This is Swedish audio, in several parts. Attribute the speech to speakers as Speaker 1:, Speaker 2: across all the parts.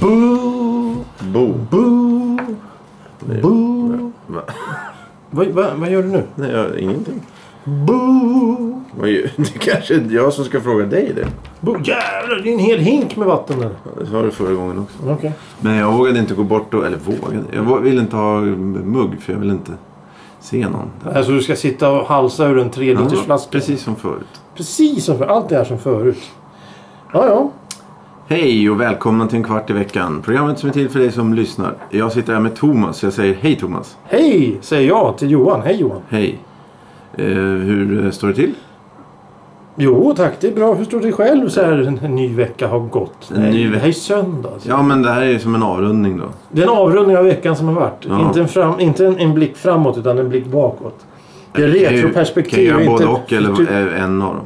Speaker 1: Boo!
Speaker 2: Bo.
Speaker 1: Boo! Boo!
Speaker 2: Va?
Speaker 1: Vad, vad, vad gör du nu?
Speaker 2: Nej, jag, ingenting.
Speaker 1: Boo!
Speaker 2: Vad gör- Det kanske inte är jag som ska fråga dig det.
Speaker 1: Boo! Jävlar, det är en hel hink med vatten där.
Speaker 2: Det sa du förra gången också.
Speaker 1: Okej.
Speaker 2: Men jag vågade inte gå bort och... Eller vågade? Jag vå- ville inte ha mugg för jag vill inte se någon.
Speaker 1: Alltså du ska sitta och halsa ur en tre
Speaker 2: Ja,
Speaker 1: liters flaska?
Speaker 2: precis som förut.
Speaker 1: Precis som förut. Allt det här som förut. Ja, ja.
Speaker 2: Hej och välkomna till en kvart i veckan. Programmet som är till för dig som lyssnar. Jag sitter här med Thomas. Jag säger hej Thomas.
Speaker 1: Hej, säger jag till Johan. Hej Johan.
Speaker 2: Hej. Eh, hur eh, står det till?
Speaker 1: Jo tack, det är bra. Hur står det själv så här en, en ny vecka har gått?
Speaker 2: En
Speaker 1: Nej,
Speaker 2: ny ve-
Speaker 1: Det här är söndag. Alltså.
Speaker 2: Ja, men det här är ju som en avrundning då.
Speaker 1: Det är en avrundning av veckan som har varit.
Speaker 2: Ja.
Speaker 1: Inte, en, fram, inte en, en blick framåt utan en blick bakåt. Det är
Speaker 2: Kan ju-
Speaker 1: retroperspektiv.
Speaker 2: Kan
Speaker 1: och
Speaker 2: jag
Speaker 1: inte-
Speaker 2: både och eller eh, en av dem?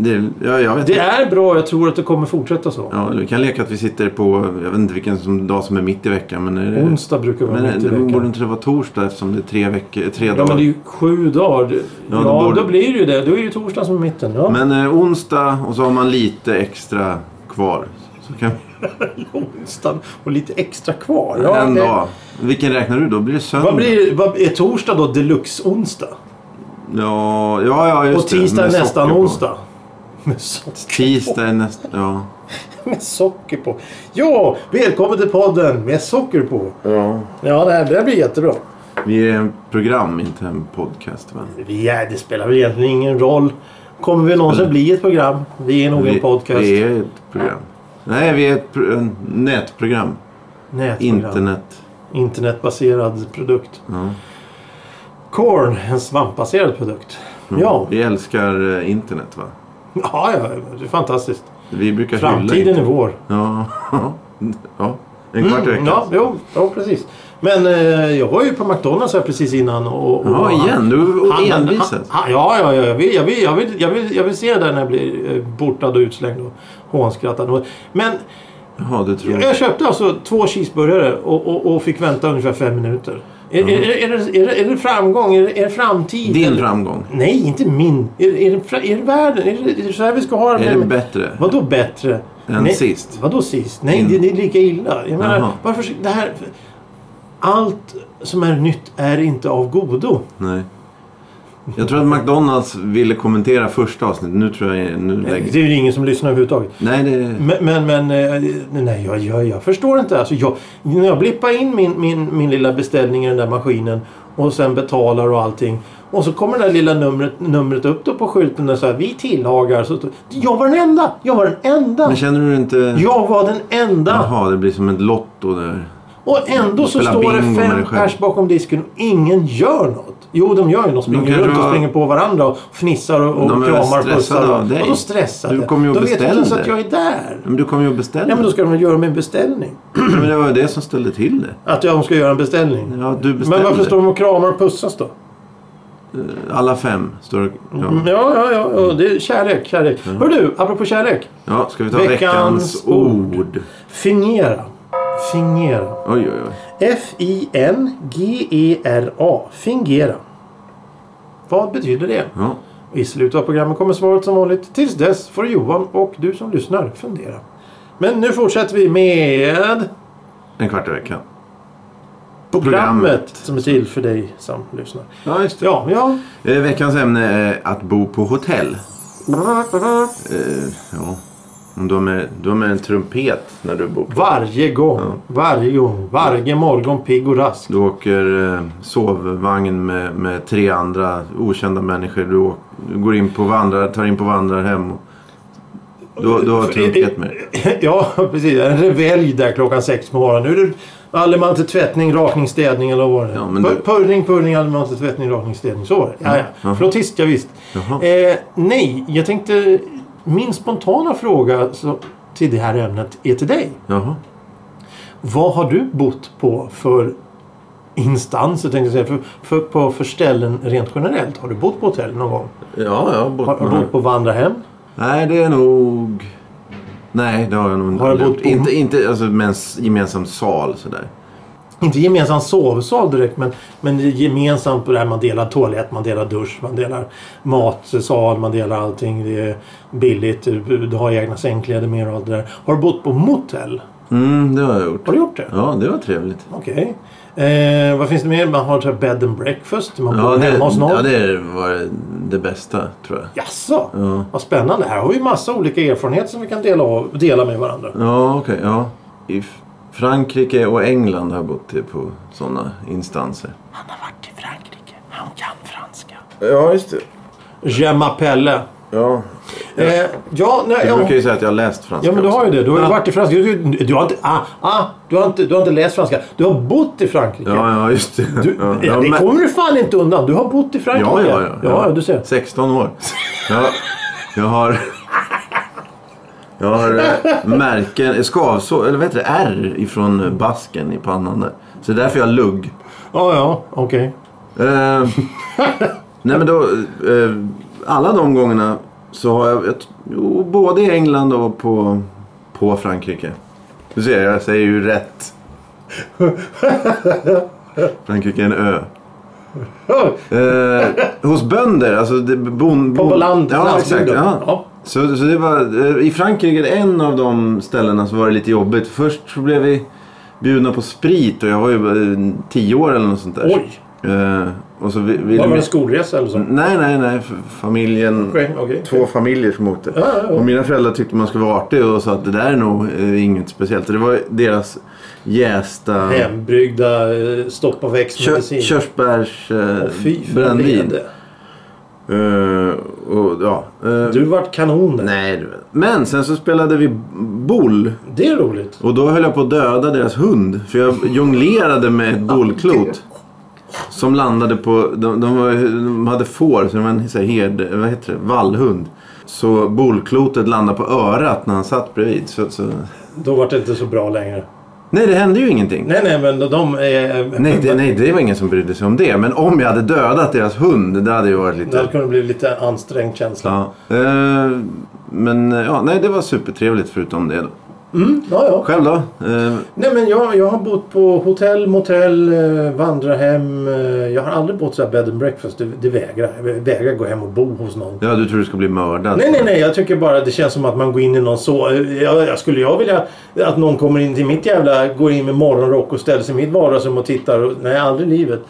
Speaker 2: Det, ja, jag vet
Speaker 1: Det
Speaker 2: inte.
Speaker 1: är bra, jag tror att det kommer fortsätta så.
Speaker 2: Ja, vi kan leka att vi sitter på, jag vet inte vilken som, dag som är mitt i veckan. Men är det,
Speaker 1: Onsdag brukar vara
Speaker 2: men
Speaker 1: mitt i
Speaker 2: det, borde
Speaker 1: veckan.
Speaker 2: inte det vara torsdag eftersom det är tre, veckor, tre
Speaker 1: Ja,
Speaker 2: dagar?
Speaker 1: men det är ju sju dagar. Ja,
Speaker 2: då
Speaker 1: då,
Speaker 2: borde-
Speaker 1: blir det ju det. Då är det ju torsdagen som är mitten. Ja.
Speaker 2: Men eh, onsdag och så har man lite extra kvar. Så kan,
Speaker 1: Onsdag och lite extra kvar. Ja,
Speaker 2: en
Speaker 1: okej.
Speaker 2: dag. Vilken räknar du då? Blir det söndag?
Speaker 1: Vad blir vad, är torsdag då deluxe-onsdag?
Speaker 2: Ja, ja, ja just
Speaker 1: Och
Speaker 2: det,
Speaker 1: tisdag
Speaker 2: med
Speaker 1: är nästan
Speaker 2: socker på.
Speaker 1: onsdag. Med, so
Speaker 2: Tisdag är nästan... Ja.
Speaker 1: med socker på. Ja, välkommen till podden med socker på.
Speaker 2: ja.
Speaker 1: Ja, det här, det här blir jättebra.
Speaker 2: Vi är en program, inte en podcast. Men.
Speaker 1: Vi är, det spelar väl egentligen ingen roll. Kommer vi någonsin bli ett program? Vi är nog en
Speaker 2: Mm. Vi,
Speaker 1: podcast.
Speaker 2: vi är ett program. Nej, vi är ett pro- en nätprogram.
Speaker 1: Nätprogram.
Speaker 2: Internet.
Speaker 1: Internetbaserad produkt.
Speaker 2: Ja.
Speaker 1: Corn, en svampbaserad produkt. Ja.
Speaker 2: Vi älskar eh, internet va?
Speaker 1: ja, ja, det är fantastiskt.
Speaker 2: Vi brukar hylla
Speaker 1: Framtiden är
Speaker 2: internet.
Speaker 1: vår.
Speaker 2: Ja. ja. En kvart i veckan.
Speaker 1: Ja, jo, ja, precis. Men eh, jag var ju på McDonalds här precis innan. Och, och
Speaker 2: Ja, igen. Du
Speaker 1: Han, han,
Speaker 2: envisas.
Speaker 1: han, ja, ja, ja. Jag vill, jag, vill, jag, vill, jag, vill, jag vill se det där när jag blir eh, bortad och utslängd och hånskrattad. Och- Men
Speaker 2: Jaha, du tror...
Speaker 1: jag köpte alltså två cheeseburgare och, och, och fick vänta ungefär fem minuter. Är, är, är, det- är, det- är det framgång? Är det, är det framtid?
Speaker 2: Din
Speaker 1: Eller-
Speaker 2: framgång.
Speaker 1: Nej, inte min. Är, är, det, fra- är det världen? Är det, är det så här vi ska ha det?
Speaker 2: Är det
Speaker 1: Men-
Speaker 2: bättre?
Speaker 1: Vadå bättre?
Speaker 2: Än
Speaker 1: Nej,
Speaker 2: sist?
Speaker 1: Vadå sist? Nej,
Speaker 2: In-
Speaker 1: det, det är lika illa. Jag menar,
Speaker 2: Jaha.
Speaker 1: varför... ska- Det här, allt som är nytt är inte av godo.
Speaker 2: Nej. Jag tror att McDonalds ville kommentera första avsnittet. Nu tror jag... Nu
Speaker 1: Det
Speaker 2: lägger...
Speaker 1: är ju ingen som lyssnar överhuvudtaget.
Speaker 2: Nej, det...
Speaker 1: Men, men, men eh, nej, jag, jag, jag förstår inte. Alltså, jag, när jag blippar in min, min, min lilla beställning i den där maskinen och sen betalar och allting. Och så kommer det där lilla numret, numret upp då på skylten där så här, vi tillagar. Så, står- jag var den enda! Jag var den enda!
Speaker 2: Men känner du inte...
Speaker 1: Jag var den enda!
Speaker 2: Jaha, det blir som ett lotto där.
Speaker 1: Och ändå så
Speaker 2: Spela
Speaker 1: står det
Speaker 2: bingo med
Speaker 1: fem
Speaker 2: dig själv.
Speaker 1: pers bakom disken och ingen gör något. Jo, de gör ju något. Springer
Speaker 2: kanske
Speaker 1: runt och
Speaker 2: var-
Speaker 1: springer på varandra och fnissar och, och
Speaker 2: De är
Speaker 1: kramar och
Speaker 2: stressade
Speaker 1: pussar.
Speaker 2: av dig.
Speaker 1: Och då stressar
Speaker 2: Du kommer ju och
Speaker 1: Då vet inte ens
Speaker 2: beställde.
Speaker 1: att jag är där.
Speaker 2: Men du kommer ju att beställa.
Speaker 1: Ja, men då ska de väl göra min beställning.
Speaker 2: Men det var ju det som ställde till det.
Speaker 1: Att jag ska göra en beställning.
Speaker 2: Ja, du beställde.
Speaker 1: Men varför står de och kramar och pussas då?
Speaker 2: Alla fem står det- ja.
Speaker 1: Mm, Ja, ja, ja. ja. Det är kärlek, kärlek. Hör du, apropå kärlek.
Speaker 2: ja, ska vi ta
Speaker 1: Veckans
Speaker 2: veckans,
Speaker 1: ord.
Speaker 2: ord?
Speaker 1: Fingera. Fingera.
Speaker 2: Oj, oj, oj.
Speaker 1: F-I-N-G-E-R-A. E Fingera. Vad betyder det?
Speaker 2: Ja.
Speaker 1: I slutet av programmet kommer svaret som vanligt. Tills dess får Johan och du som lyssnar fundera. Men nu fortsätter vi med
Speaker 2: En kvart i veckan.
Speaker 1: programmet som är till för dig som lyssnar.
Speaker 2: Ja, just det.
Speaker 1: Ja, ja.
Speaker 2: Eh, veckans ämne är att bo på hotell. Eh, ja. Om Du har, med, du har med en trumpet när du bor på
Speaker 1: Varje gång. Varje gång. Varje morgon pigg och rask.
Speaker 2: Du åker eh, sovvagn med, med tre andra okända människor. Du, åk, du går in på vandrar, tar in på vandrarhem. och- Du, du har trumpet med dig.
Speaker 1: Ja, precis. En revelj där klockan sex på morgonen. Nu är det allemans till tvättning, rakning, städning eller vad var det?
Speaker 2: Ja, men
Speaker 1: Pur-
Speaker 2: du-
Speaker 1: Purring, purring, allemans till tvättning, rakning, städning. Så var det. Ja, ja.
Speaker 2: Jaha.
Speaker 1: Flottist, ja, visst.
Speaker 2: Jaha.
Speaker 1: Eh, nej, jag tänkte... Min spontana fråga så, till det här ämnet är till dig.
Speaker 2: Jaha.
Speaker 1: Vad har du bott på för instanser, tänkte jag säga. För, för, på, för ställen rent generellt? Har du bott på hotell någon gång?
Speaker 2: Ja, jag har bott
Speaker 1: Har du
Speaker 2: med-
Speaker 1: bott på vandrarhem?
Speaker 2: Nej, det är nog... Nej, det har jag nog
Speaker 1: Har du
Speaker 2: aldrig
Speaker 1: bott
Speaker 2: gjort.
Speaker 1: på-
Speaker 2: Inte, inte alltså, med en s- gemensam sal sådär.
Speaker 1: Inte gemensam sovsal direkt men, men gemensamt på det här man delar toalett, man delar dusch, man delar matsal, man delar allting. Det är billigt, du du har egna sängkläder med och allt det där. Har du bott på motell?
Speaker 2: Mm, det har jag gjort.
Speaker 1: Har du gjort det?
Speaker 2: Ja, det var trevligt.
Speaker 1: Okej. Eh, vad finns det mer? Man har så här bed and breakfast. Man bor
Speaker 2: Ja, det,
Speaker 1: hemma hos någon.
Speaker 2: ja, det var det bästa tror jag.
Speaker 1: Jaså?
Speaker 2: Ja,
Speaker 1: Vad spännande. Här har vi massa olika erfarenheter som vi kan dela, av, dela med varandra.
Speaker 2: ja okej. ja. I F- Frankrike och England har jag bott till på sådana instanser.
Speaker 1: Han har varit i Frankrike. Han kan franska.
Speaker 2: Ja, just det.
Speaker 1: Je m'appelle.
Speaker 2: Ja.
Speaker 1: Eh, ja, nej,
Speaker 2: Jag brukar
Speaker 1: ja,
Speaker 2: ju säga att jag har läst franska
Speaker 1: ja, men du har ju det. Du har ju
Speaker 2: Ja.
Speaker 1: varit i Frankrike. Du, du, du, har inte, ah, ah, du, har inte, du har inte läst franska. Du har bott i Frankrike.
Speaker 2: Ja, ja, just det.
Speaker 1: Du,
Speaker 2: ja.
Speaker 1: ja,
Speaker 2: Ja,
Speaker 1: det
Speaker 2: men-
Speaker 1: kommer du fan inte undan. Du har bott i Frankrike.
Speaker 2: ja, ja, ja,
Speaker 1: ja du ser.
Speaker 2: 16 år. Ja, jag har... Jag har eh, märken, skavsår, eller vad heter det, ärr ifrån basken i pannan där. Så det är därför jag har lugg.
Speaker 1: Ja, ja, okej.
Speaker 2: Eh, nej men då, eh, alla de gångerna så har jag, jag jo, både i England och på, på Frankrike. Du ser, jag säger ju rätt. Frankrike är en ö.
Speaker 1: Ja,
Speaker 2: Eh, hos bönder, alltså det, bon,
Speaker 1: På land,
Speaker 2: ja, exakt,
Speaker 1: landsbygden.
Speaker 2: ja.
Speaker 1: Ja.
Speaker 2: Så, så det var, eh, I Frankrike, en av de ställena, så var det lite jobbigt. Först så blev vi bjudna på sprit och jag var ju bara, eh, tio år eller något sånt där.
Speaker 1: Oj!
Speaker 2: Eh, och så vi- ville
Speaker 1: Var det
Speaker 2: vi-
Speaker 1: en skolresa eller så?
Speaker 2: Nej, nej, nej. f- Familjen...
Speaker 1: Okej, okej.
Speaker 2: Mm. Två familjer som åkte.
Speaker 1: Ja, ja, ja.
Speaker 2: Och mina föräldrar tyckte man skulle vara artig och sa att det där är nog eh, inget speciellt. Så Det var deras jästa...
Speaker 1: Hembryggda eh, stoppa
Speaker 2: Kö-
Speaker 1: växtmedicin.
Speaker 2: körsbärs... Eh,
Speaker 1: Åh, fy fan,
Speaker 2: brännvin.
Speaker 1: det är det.
Speaker 2: Eh, och, ja, eh,
Speaker 1: Du vart kanon. där.
Speaker 2: Nej, du vet. Men sen så spelade vi boll.
Speaker 1: Det är roligt.
Speaker 2: Och då höll jag på att döda deras hund. För jag jonglerade med ett bollklot. Som landade på... De, de, var, de hade får, så det var en så här, herde, vad heter det? vallhund. Så bollklotet landade på örat när han satt bredvid. Så, så...
Speaker 1: Då vart det inte så bra längre.
Speaker 2: Nej, det hände ju ingenting.
Speaker 1: Nej, nej, men de är...
Speaker 2: Nej det, nej, det var ingen som brydde sig om det. Men om jag hade dödat deras hund, det hade ju varit lite...
Speaker 1: Det hade kunnat bli lite ansträngd känsla.
Speaker 2: Ja. Eh, men eh, ja, nej, det var supertrevligt förutom det. Då.
Speaker 1: Mm, Ja, ja.
Speaker 2: Själv då? Eh,
Speaker 1: Nej, men jag, jag har bott på hotell, motell, eh, vandrarhem. eh, Jag har aldrig bott så här bed and breakfast. Det, det vägrar. Jag vägrar gå hem och bo hos någon.
Speaker 2: Ja, du tror du ska bli mördad?
Speaker 1: Nej, nej, nej. Jag tycker bara det känns som att man går in i någon så... eh, Jag, jag skulle jag vilja att någon kommer in till mitt jävla... Går in med morgonrock och ställer sig i mitt vardagsrum och tittar. Och, nej, aldrig i livet.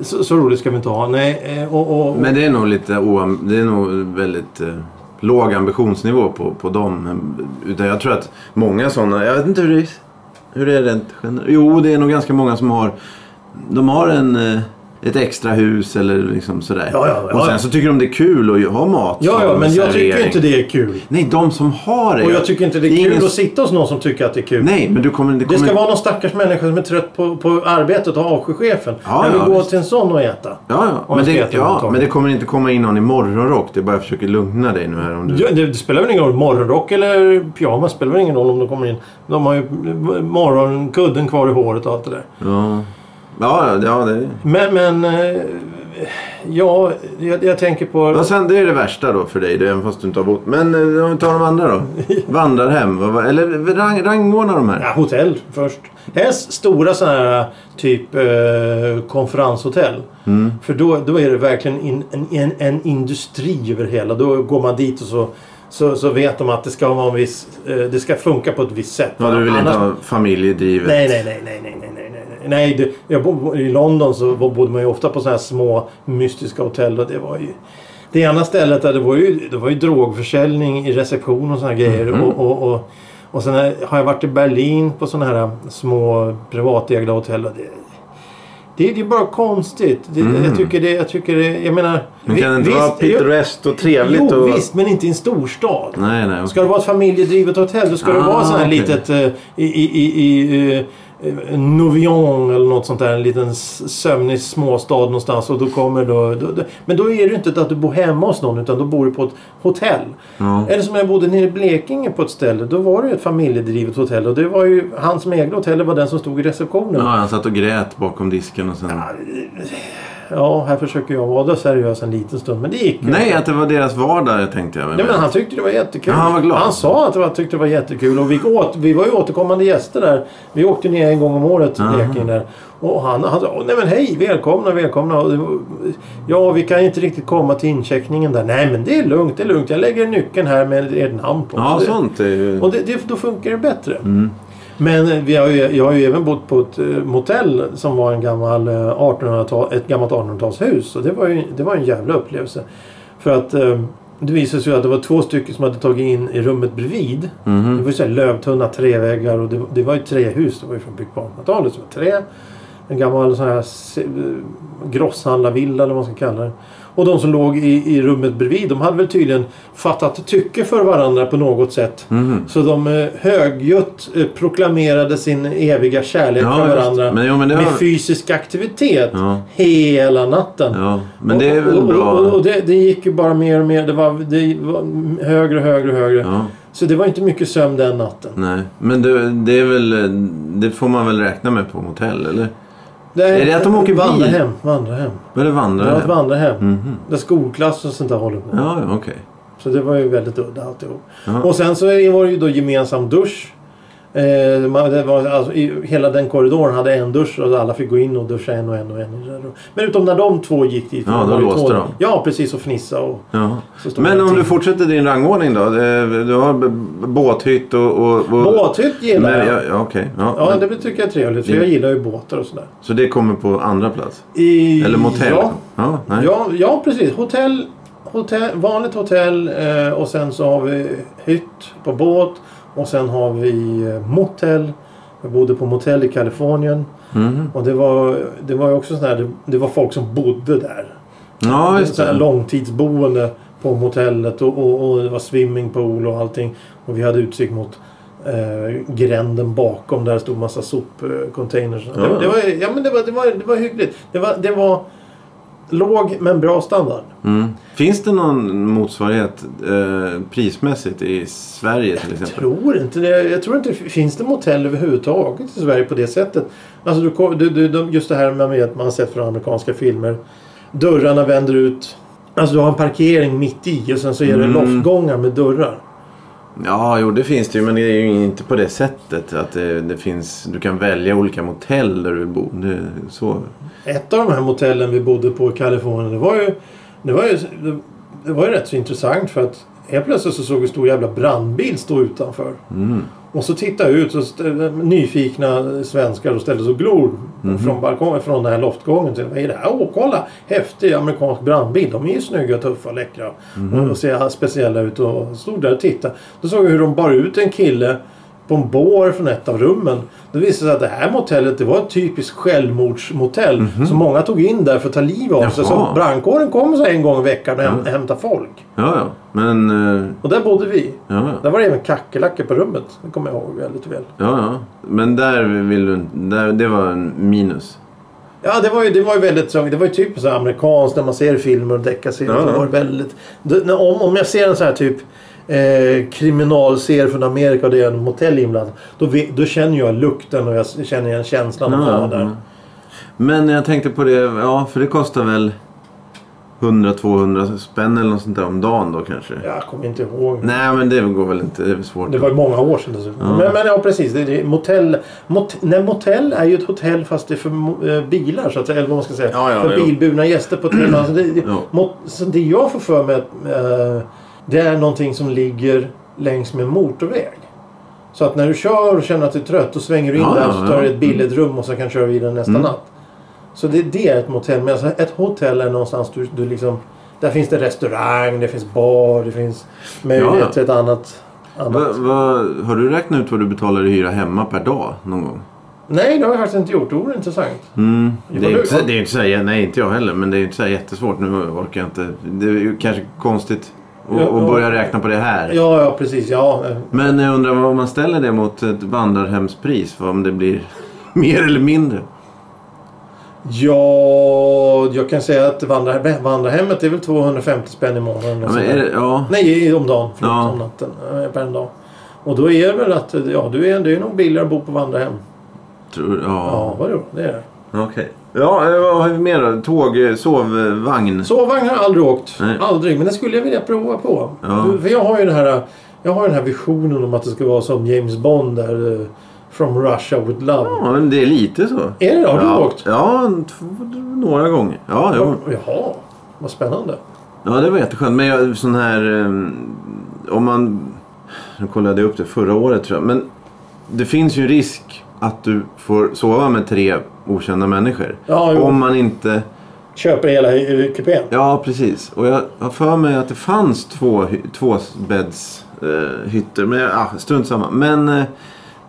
Speaker 1: Så, så roligt ska vi inte ha. Nej, eh, och, och,
Speaker 2: Men det är nog lite oam- Det är nog väldigt eh, låg ambitionsnivå på, på dem. Utan jag tror att många sådana... Jag vet inte hur det är, hur det är rent generellt. Jo, det är nog ganska många som har... De har en... eh, Ett extra hus eller liksom sådär.
Speaker 1: Ja, ja, ja.
Speaker 2: Och sen så tycker de det är kul att ju- ha mat.
Speaker 1: Ja, ja,
Speaker 2: som
Speaker 1: men jag
Speaker 2: servering.
Speaker 1: tycker ju inte det är kul.
Speaker 2: Nej, de som har det.
Speaker 1: Och jag tycker inte det är,
Speaker 2: ingen
Speaker 1: kul
Speaker 2: s-
Speaker 1: att sitta hos någon som tycker att det är kul.
Speaker 2: Nej, men du kommer... Det
Speaker 1: Det
Speaker 2: kommer...
Speaker 1: ska vara någon stackars människa som är trött på, på arbetet och avskyr chefen.
Speaker 2: Ja,
Speaker 1: jag vill
Speaker 2: ja,
Speaker 1: gå
Speaker 2: visst.
Speaker 1: till en sån och äta.
Speaker 2: Ja, ja.
Speaker 1: Om jag
Speaker 2: Men,
Speaker 1: ska äta
Speaker 2: det, ja
Speaker 1: överhuvudtaget.
Speaker 2: men det kommer inte komma in någon i morgonrock. Det är bara jag försöker lugna dig nu här om du...
Speaker 1: Ja, Det, det spelar väl ingen roll. Morgonrock eller pyjamas spelar väl ingen roll om de kommer in. De har ju morgonkudden kvar i håret och allt det där.
Speaker 2: Ja, ja, ja det
Speaker 1: Men, men... eh, Ja, jag, jag tänker på...
Speaker 2: Och sen, det är det värsta då för dig, det är även fast du inte har bott. Men eh, om vi tar de andra då? Vandrarhem, vad var- eller rang, rangordna de här.
Speaker 1: Ja, hotell först. Helst stora sådana här typ eh, konferenshotell.
Speaker 2: Mm.
Speaker 1: För då, då är det verkligen in, en, en, en industri över hela. Då går man dit och så, så, så vet de att det ska, vara en viss, eh, det ska funka på ett visst sätt.
Speaker 2: Ja, du vill
Speaker 1: Annars-
Speaker 2: inte ha familjedrivet?
Speaker 1: Nej, nej, nej, nej, nej, nej, nej, nej. nej det, jag bo, I London så bo- bodde man ju ofta på sådana här små mystiska hotell och det var ju... Det ena stället där det var ju, det var ju drogförsäljning i reception och sådana grejer.
Speaker 2: Mhm.
Speaker 1: Och, och, och, och sen har jag varit i Berlin på sådana här små privatägda hotell och det... Det, det är bara konstigt. Det, Jag tycker det... Jag, tycker det, jag menar...
Speaker 2: Men Mm. kan det inte vara pittoreskt och trevligt?
Speaker 1: Jo,
Speaker 2: och...
Speaker 1: visst, men inte i en storstad.
Speaker 2: Nej, nej.
Speaker 1: Ska det vara ett familjedrivet hotell då ska det
Speaker 2: Ah,
Speaker 1: vara sån här
Speaker 2: okej.
Speaker 1: litet eh, i, i, i, i eh, Novion eller något sånt där. En liten s- sömnig småstad någonstans. Och då kommer då, då, då, men då är det ju inte att du bor hemma hos någon utan då bor du på ett hotell.
Speaker 2: Ja.
Speaker 1: Eller som när jag bodde nere i Blekinge på ett ställe. Då var det ju ett familjedrivet hotell. Och det var ju han som ägde hotellet var den som stod i receptionen.
Speaker 2: Ja, han satt och grät bakom disken och sen...
Speaker 1: Ja, ja, här försöker jag vara seriös en liten stund. Men det gick ju.
Speaker 2: Nej, att det var deras vardag tänkte jag.
Speaker 1: Nej, men han tyckte det var jättekul.
Speaker 2: Ja, han var glad.
Speaker 1: sa att det var, tyckte det var jättekul. Och vi, gick åt, vi var ju återkommande gäster där. Vi åkte ner en gång om året till
Speaker 2: Aha.
Speaker 1: Blekinge där. Och han, han sa nej men hej, välkomna, välkomna. Och det var- Ja, vi kan inte riktigt komma till incheckningen där. Nej, men det är lugnt, det är lugnt. Jag lägger nyckeln här med ert namn på.
Speaker 2: Ja,
Speaker 1: Så det-
Speaker 2: sånt är ju...
Speaker 1: och det, det, då funkar det bättre. Men eh, vi har ju, jag har ju även bott på ett eh, motell som var en gammal eh, 1800-tal, ett gammalt 1800-talshus. Och det var ju det var en jävla upplevelse. För att eh, det visade sig ju att det var två stycken som hade tagit in i rummet bredvid. Det var ju så här lövtunna träväggar och det, det var ju tre hus. Det var ju från byggt på 1800-talet. Så det var trä. En gammal sån här se- eh, grosshandlarvilla eller vad man ska kalla det. Och de som låg i, i rummet bredvid de hade väl tydligen fattat tycke för varandra på något sätt.
Speaker 2: Mhm.
Speaker 1: Så de eh, högljutt eh, proklamerade sin eviga kärlek
Speaker 2: Ja,
Speaker 1: för
Speaker 2: just.
Speaker 1: varandra
Speaker 2: Men, jo, men det
Speaker 1: med
Speaker 2: har...
Speaker 1: fysisk aktivitet
Speaker 2: Ja.
Speaker 1: hela natten.
Speaker 2: ja, men det är
Speaker 1: Och-
Speaker 2: väl
Speaker 1: och,
Speaker 2: bra.
Speaker 1: Och, och det, det gick ju bara mer och mer. Det var, det var högre och högre och högre.
Speaker 2: Ja,
Speaker 1: Så det var inte mycket sömn den natten.
Speaker 2: nej. Men det, det är väl... Det får man väl räkna med på motell, eller? Är det att de åker bil?
Speaker 1: vandra hem, vandra hem.
Speaker 2: Vad är
Speaker 1: Det
Speaker 2: det
Speaker 1: var ett
Speaker 2: vandrarhem?
Speaker 1: vandrarhem.
Speaker 2: Mhm.
Speaker 1: Där skolklass och sånt där håller på.
Speaker 2: Ja, ja, okej.
Speaker 1: Så det var ju väldigt udda alltihop.
Speaker 2: Ja.
Speaker 1: Och sen så är- var det ju då gemensam dusch. Eh, man, det var, alltså, i, hela den korridoren hade en dusch och alla fick gå in och duscha en och en och en. Men utom när de två gick dit.
Speaker 2: Ja,
Speaker 1: Det
Speaker 2: då
Speaker 1: var ju
Speaker 2: låste
Speaker 1: två-
Speaker 2: de.
Speaker 1: Ja, precis. Och fnissa och
Speaker 2: Ja.
Speaker 1: så stod
Speaker 2: Men
Speaker 1: det
Speaker 2: om
Speaker 1: till.
Speaker 2: du fortsätter din rangordning då? Eh, Du har b- b- båthytt och... och, och
Speaker 1: Båthytt gillar
Speaker 2: Men,
Speaker 1: jag.
Speaker 2: ja, ja, okej. ja.
Speaker 1: Ja, det tycker jag är trevligt. För
Speaker 2: Det-
Speaker 1: jag gillar ju båtar och sådär.
Speaker 2: Så det kommer på andra plats?
Speaker 1: I,
Speaker 2: Eller motell?
Speaker 1: Ja,
Speaker 2: ja, nej.
Speaker 1: ja, ja precis. Hotell, hotell, vanligt hotell eh, och sen så har vi hytt på båt. Och sen har vi eh, motell. Jag bodde på motell i Kalifornien.
Speaker 2: Mhm.
Speaker 1: Och det var, det var ju också sån här, det, det var folk som bodde där.
Speaker 2: ja just
Speaker 1: så här
Speaker 2: det.
Speaker 1: långtidsboende på motellet och, och, och det var swimmingpool och allting. Och vi hade utsikt mot eh, gränden bakom där det stod massa sopcontainers.
Speaker 2: Ja.
Speaker 1: Det, det, var, ja, men det, var, det, var, det var hyggligt. Det var, det var låg men bra standard.
Speaker 2: Mm. Finns det någon motsvarighet eh, prismässigt i Sverige till
Speaker 1: Jag
Speaker 2: exempel?
Speaker 1: tror inte det. Jag tror inte det finns det motell överhuvudtaget i Sverige på det sättet. Alltså du, kom- du, du, de- just det här med att man har sett från amerikanska filmer. Dörrarna vänder ut. Alltså du har en parkering mitt i och sen så är det
Speaker 2: Mm.
Speaker 1: loftgångar med dörrar.
Speaker 2: Ja, jo det finns det ju. Men det är ju inte på det sättet att det, det finns... Du kan välja olika motell där du bor. Det, är så.
Speaker 1: Ett av de här motellen vi bodde på i Kalifornien det var ju, det var ju, det var ju rätt så intressant för att helt plötsligt så såg vi en stor jävla brandbil stå utanför.
Speaker 2: Mm.
Speaker 1: Och så tittar jag ut så st- nyfikna svenskar och ställer sig och glor från balkongen, från den här loftgången. Till, Vad är det här? Åh, kolla! Häftig amerikansk brandbil. De är ju snygga, tuffa, läckra. Och, och ser speciella ut och stod där och tittade. Då såg jag hur de bar ut en kille på en bår från ett av rummen. Det visade sig att det här motellet det var ett typiskt självmordsmotell. Som många tog in där för att ta livet av sig. Så
Speaker 2: Jaha.
Speaker 1: brandkåren kom så här en gång i veckan och häm- hämtade folk.
Speaker 2: Ja, ja. Men... Eh,
Speaker 1: Och där bodde vi.
Speaker 2: ja, ja.
Speaker 1: Där var det även kackerlackor på rummet. Det kommer jag ihåg väldigt väl.
Speaker 2: Ja, ja. Men där vill du inte- där, Det var en minus.
Speaker 1: Ja, det var ju, det var ju väldigt så, Det var ju typ så här amerikanskt när man ser filmer och deckarserier.
Speaker 2: Ja, ja.
Speaker 1: Det var väldigt... det- när- Om, om jag ser en sån här typ eh, kriminalserie från Amerika och det är en motell inblandad. Då, ve- då känner jag lukten och jag s- känner igen känslan av att
Speaker 2: Ja,
Speaker 1: vara där.
Speaker 2: ja. Men jag tänkte på det, ja för det kostar väl 100-200 spänn eller något sånt där om dagen då kanske?
Speaker 1: Jag kommer inte ihåg.
Speaker 2: Nej men det går väl inte, det är väl svårt.
Speaker 1: Det var ju många år sedan dessutom. Men, men ja, precis. Det, det, motell, mot, nej, motell är ju ett hotell fast det är för mo- eh, bilar så att säga. Eller vad man ska säga.
Speaker 2: Ja, ja,
Speaker 1: för
Speaker 2: jo.
Speaker 1: bilburna gäster på ett hotell. Alltså det, det,
Speaker 2: Ja.
Speaker 1: mot, så det jag får för mig att, eh, det är någonting som ligger längs med motorväg. Så att när du kör och känner att du är trött då svänger du in
Speaker 2: Ja,
Speaker 1: där
Speaker 2: ja,
Speaker 1: och så tar
Speaker 2: ja. Mm.
Speaker 1: du ett billigt rum och så kan du köra vidare nästa natt. Så det, det är ett motell. Men alltså, ett hotell är någonstans du, du liksom... Där finns det restaurang, det finns bar, det finns möjlighet
Speaker 2: Ja, ja.
Speaker 1: till ett annat... annat.
Speaker 2: Va, va, har du räknat ut vad du betalar i hyra hemma per dag någon gång?
Speaker 1: Nej, det har jag faktiskt inte gjort. Det vore intressant.
Speaker 2: Mm.
Speaker 1: Jo,
Speaker 2: Det är
Speaker 1: du-
Speaker 2: inte, så- det är inte så här, nej inte jag heller, men det är inte så här jättesvårt. Nu orkar jag inte. Det är ju kanske konstigt att
Speaker 1: Ja,
Speaker 2: att
Speaker 1: ja.
Speaker 2: börja räkna på det här.
Speaker 1: Ja, ja precis. Ja. eh,
Speaker 2: Men jag undrar vad- om man ställer det mot ett vandrarhemspris, vad om det blir mer eller mindre?
Speaker 1: ja, jag kan säga att vandra, vandrarhemmet är väl 250 spänn i månaden. och
Speaker 2: Ja, men
Speaker 1: sådär.
Speaker 2: är det, ja.
Speaker 1: Nej, om dagen. Förlåt,
Speaker 2: Ja.
Speaker 1: om natten. eh, Per en dag. Och då är det väl att ja, du är, det är nog billigare att bo på vandrarhem.
Speaker 2: Tror, ja.
Speaker 1: Ja, vad det är.
Speaker 2: Okej. Ja, eh, vad har vi mer då? Tåg, eh, sovvagn.
Speaker 1: Sovvagn har jag aldrig åkt.
Speaker 2: Nej.
Speaker 1: Aldrig. Men det skulle jag vilja prova på.
Speaker 2: Ja.
Speaker 1: För- För jag har ju det här, jag har den här visionen om att det ska vara som James Bond där. eh, From Russia with love.
Speaker 2: Ja, men det är lite så.
Speaker 1: Är det det? Har du
Speaker 2: ja,
Speaker 1: åkt?
Speaker 2: ja, t- några gånger. Ja, jo.
Speaker 1: Jaha, vad spännande.
Speaker 2: ja, det var jätteskönt. Men jag, sån här... eh, Om man... Nu kollade jag upp det förra året tror jag. Men det finns ju en risk att du får sova med tre okända människor.
Speaker 1: Ja, jo.
Speaker 2: om man inte...
Speaker 1: Köper hela eh, kupén.
Speaker 2: Ja, precis. Och jag har för mig att det fanns två, hy- två bädds, eh, hytter. Men ah, strunt samma. Men eh,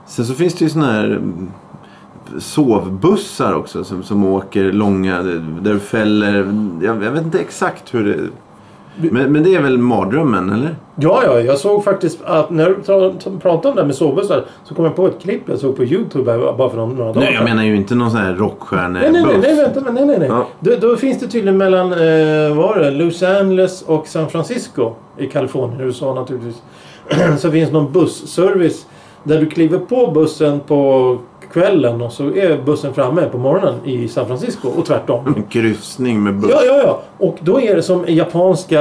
Speaker 2: sen så finns det ju såna här mm, sovbussar också som, som åker långa, där där det fäller. mm, Jag, jag vet inte exakt hur det... Men, men det är väl mardrömmen, eller?
Speaker 1: Ja, ja, jag såg faktiskt att när du pra- pratade om det här med sovbussar så kom jag på ett klipp jag såg på Youtube här bara för några, några dagar
Speaker 2: Nej, jag
Speaker 1: sedan.
Speaker 2: menar ju inte någon sån här rockstjärnebuss.
Speaker 1: Nej, nej, nej, nej, vänta, men nej, nej, nej.
Speaker 2: Ja.
Speaker 1: Då, då finns det tydligen mellan, eh, vad var det, Los Angeles och San Francisco i Kalifornien, USA naturligtvis. så finns någon busservice där du kliver på bussen på kvällen och så är bussen framme på morgonen i San Francisco och tvärtom.
Speaker 2: En kryssning med buss.
Speaker 1: Ja, ja, ja. Och då är det som japanska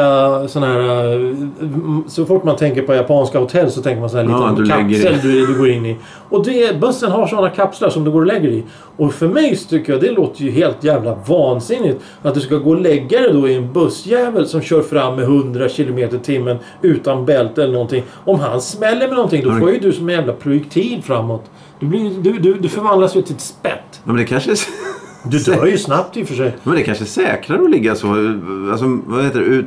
Speaker 1: sådana här... eh, m- Så fort man tänker på japanska hotell så tänker man sån här
Speaker 2: Ja,
Speaker 1: liten
Speaker 2: du lägger
Speaker 1: kapsel du, du går in i. Och det, bussen har sådana kapslar som du går och lägger i. Och för mig så tycker jag det låter ju helt jävla vansinnigt att du ska gå och lägga dig då i en bussjävel som kör fram med 100 km i timmen utan bälte eller någonting. Om han smäller med någonting då
Speaker 2: Ja, det-
Speaker 1: får ju du som en jävla projektil framåt. Du, blir, ju- du, du, du förvandlas ju till ett spett.
Speaker 2: Men det kanske... är-
Speaker 1: Du dör ju snabbt i och för sig.
Speaker 2: Men det kanske är säkrare att ligga så. Alltså, vad heter det? Ut...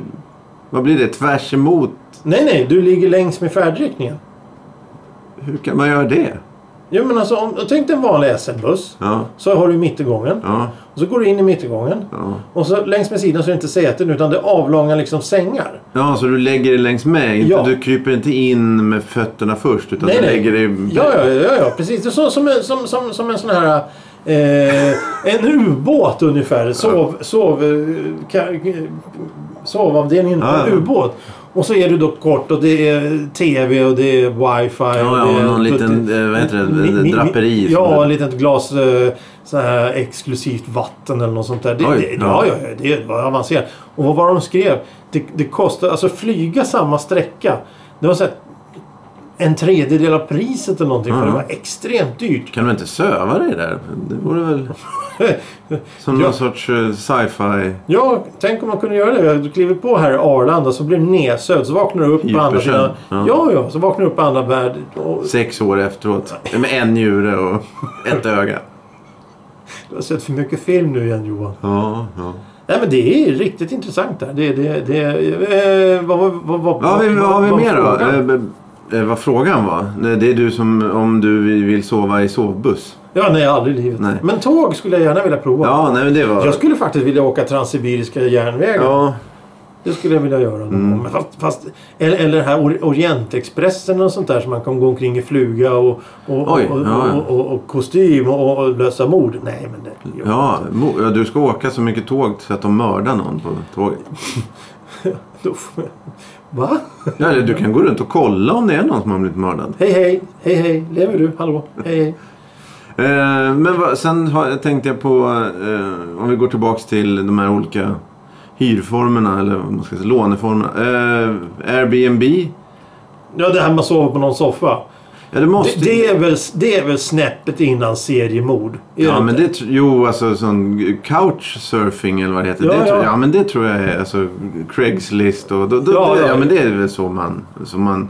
Speaker 2: Vad blir det? Tvärs emot?
Speaker 1: Nej, nej. Du ligger längs med färdriktningen.
Speaker 2: Hur kan man göra det?
Speaker 1: Jo men alltså om, tänk dig en vanlig SL-buss.
Speaker 2: Ja,
Speaker 1: Så har du mittgången.
Speaker 2: ja,
Speaker 1: Och så går du in i mittgången.
Speaker 2: ja.
Speaker 1: Och så längs med sidan så är det inte säten utan det är avlånga liksom sängar.
Speaker 2: Ja, så du lägger dig längs med? Inte,
Speaker 1: Ja.
Speaker 2: Du kryper inte in med fötterna först utan
Speaker 1: Nej,
Speaker 2: du
Speaker 1: nej.
Speaker 2: lägger dig...
Speaker 1: Ja, ja, ja, ja precis. Det är så, som, en- som, som, som en sån här... Eh, en ubåt ungefär. Sov, sov, eh, ka, eh, sovavdelningen på
Speaker 2: Ja,
Speaker 1: en
Speaker 2: ja.
Speaker 1: ubåt. Och så är du då kort och det är TV och det är wifi.
Speaker 2: Ja,
Speaker 1: och det
Speaker 2: ja,
Speaker 1: är
Speaker 2: någon liten, eh, vad heter det,
Speaker 1: Ni- ni- ni-
Speaker 2: draperi som
Speaker 1: Ja,
Speaker 2: det-
Speaker 1: ett litet glas eh, så här exklusivt vatten eller något sånt där. Det,
Speaker 2: Oj,
Speaker 1: det, ja,
Speaker 2: ja.
Speaker 1: ja, ja, det var avancerat. Och vad var det de skrev? Det, det kostade, alltså flyga samma sträcka. Det var så här, en tredjedel av priset eller någonting. För
Speaker 2: Mm.
Speaker 1: det var extremt dyrt.
Speaker 2: Kan du inte söva dig där? Det vore väl som
Speaker 1: Ja.
Speaker 2: någon sorts eh, sci-fi...
Speaker 1: ja, tänk om man kunde göra det. Du kliver på här i Arlanda så blir du nedsövd. Så vaknar du upp på andra
Speaker 2: Djupersön.
Speaker 1: sidan. Ja.
Speaker 2: Ja.
Speaker 1: ja, så vaknar du upp på andra världen. Och,
Speaker 2: Sex år efteråt. Med en njure och ett öga.
Speaker 1: jag har sett för mycket film nu igen Johan.
Speaker 2: Ja, ja.
Speaker 1: Nej men det är riktigt intressant där. Det, det, det, eh, vad, vad, vad, vad,
Speaker 2: Vad har vi, vad har vi
Speaker 1: vad-
Speaker 2: mer då?
Speaker 1: frågan?
Speaker 2: Eh, eh, Vad frågan var? Nej, Det är du som om du vill sova i sovbuss.
Speaker 1: Ja, nej aldrig i livet.
Speaker 2: Nej.
Speaker 1: Men tåg skulle jag gärna vilja prova.
Speaker 2: Ja, nej men det var...
Speaker 1: Jag skulle faktiskt vilja åka Transsibiriska järnvägen.
Speaker 2: Ja,
Speaker 1: Det skulle jag vilja göra. Mm. Men fast, fast, eller, eller den här Or- Orientexpressen och sånt där som man kan gå omkring i fluga och, och,
Speaker 2: Oj,
Speaker 1: och,
Speaker 2: ja, ja.
Speaker 1: och, och, och kostym och, och lösa mord. Nej, men det...
Speaker 2: ja, mo- ja, du ska åka så mycket tåg så att de mördar någon på tåget.
Speaker 1: Då får jag- Va?
Speaker 2: Ja, eller du kan gå runt och kolla om det är någon som har blivit mördad.
Speaker 1: Hej, hej, hej, hej. Lever du? Hallå? Hej, hej.
Speaker 2: Eh, men vad, sen har, tänkte jag på, eh, om vi går tillbaks till de här olika hyrformerna eller vad man ska säga, låneformerna. Eh, Airbnb.
Speaker 1: Ja, det här med att sova på någon soffa.
Speaker 2: Ja, det måste
Speaker 1: Det, det, är, väl, det är väl snäppet innan seriemord? Är
Speaker 2: Ja,
Speaker 1: det
Speaker 2: men
Speaker 1: inte?
Speaker 2: det, tr- jo, alltså sån couchsurfing eller vad det heter.
Speaker 1: Ja,
Speaker 2: det tror,
Speaker 1: ja.
Speaker 2: ja. men det tror jag är alltså, Craigslist och... Då, då,
Speaker 1: Ja,
Speaker 2: ja, det,
Speaker 1: ja,
Speaker 2: ja,
Speaker 1: ja.
Speaker 2: men det är väl så man, så man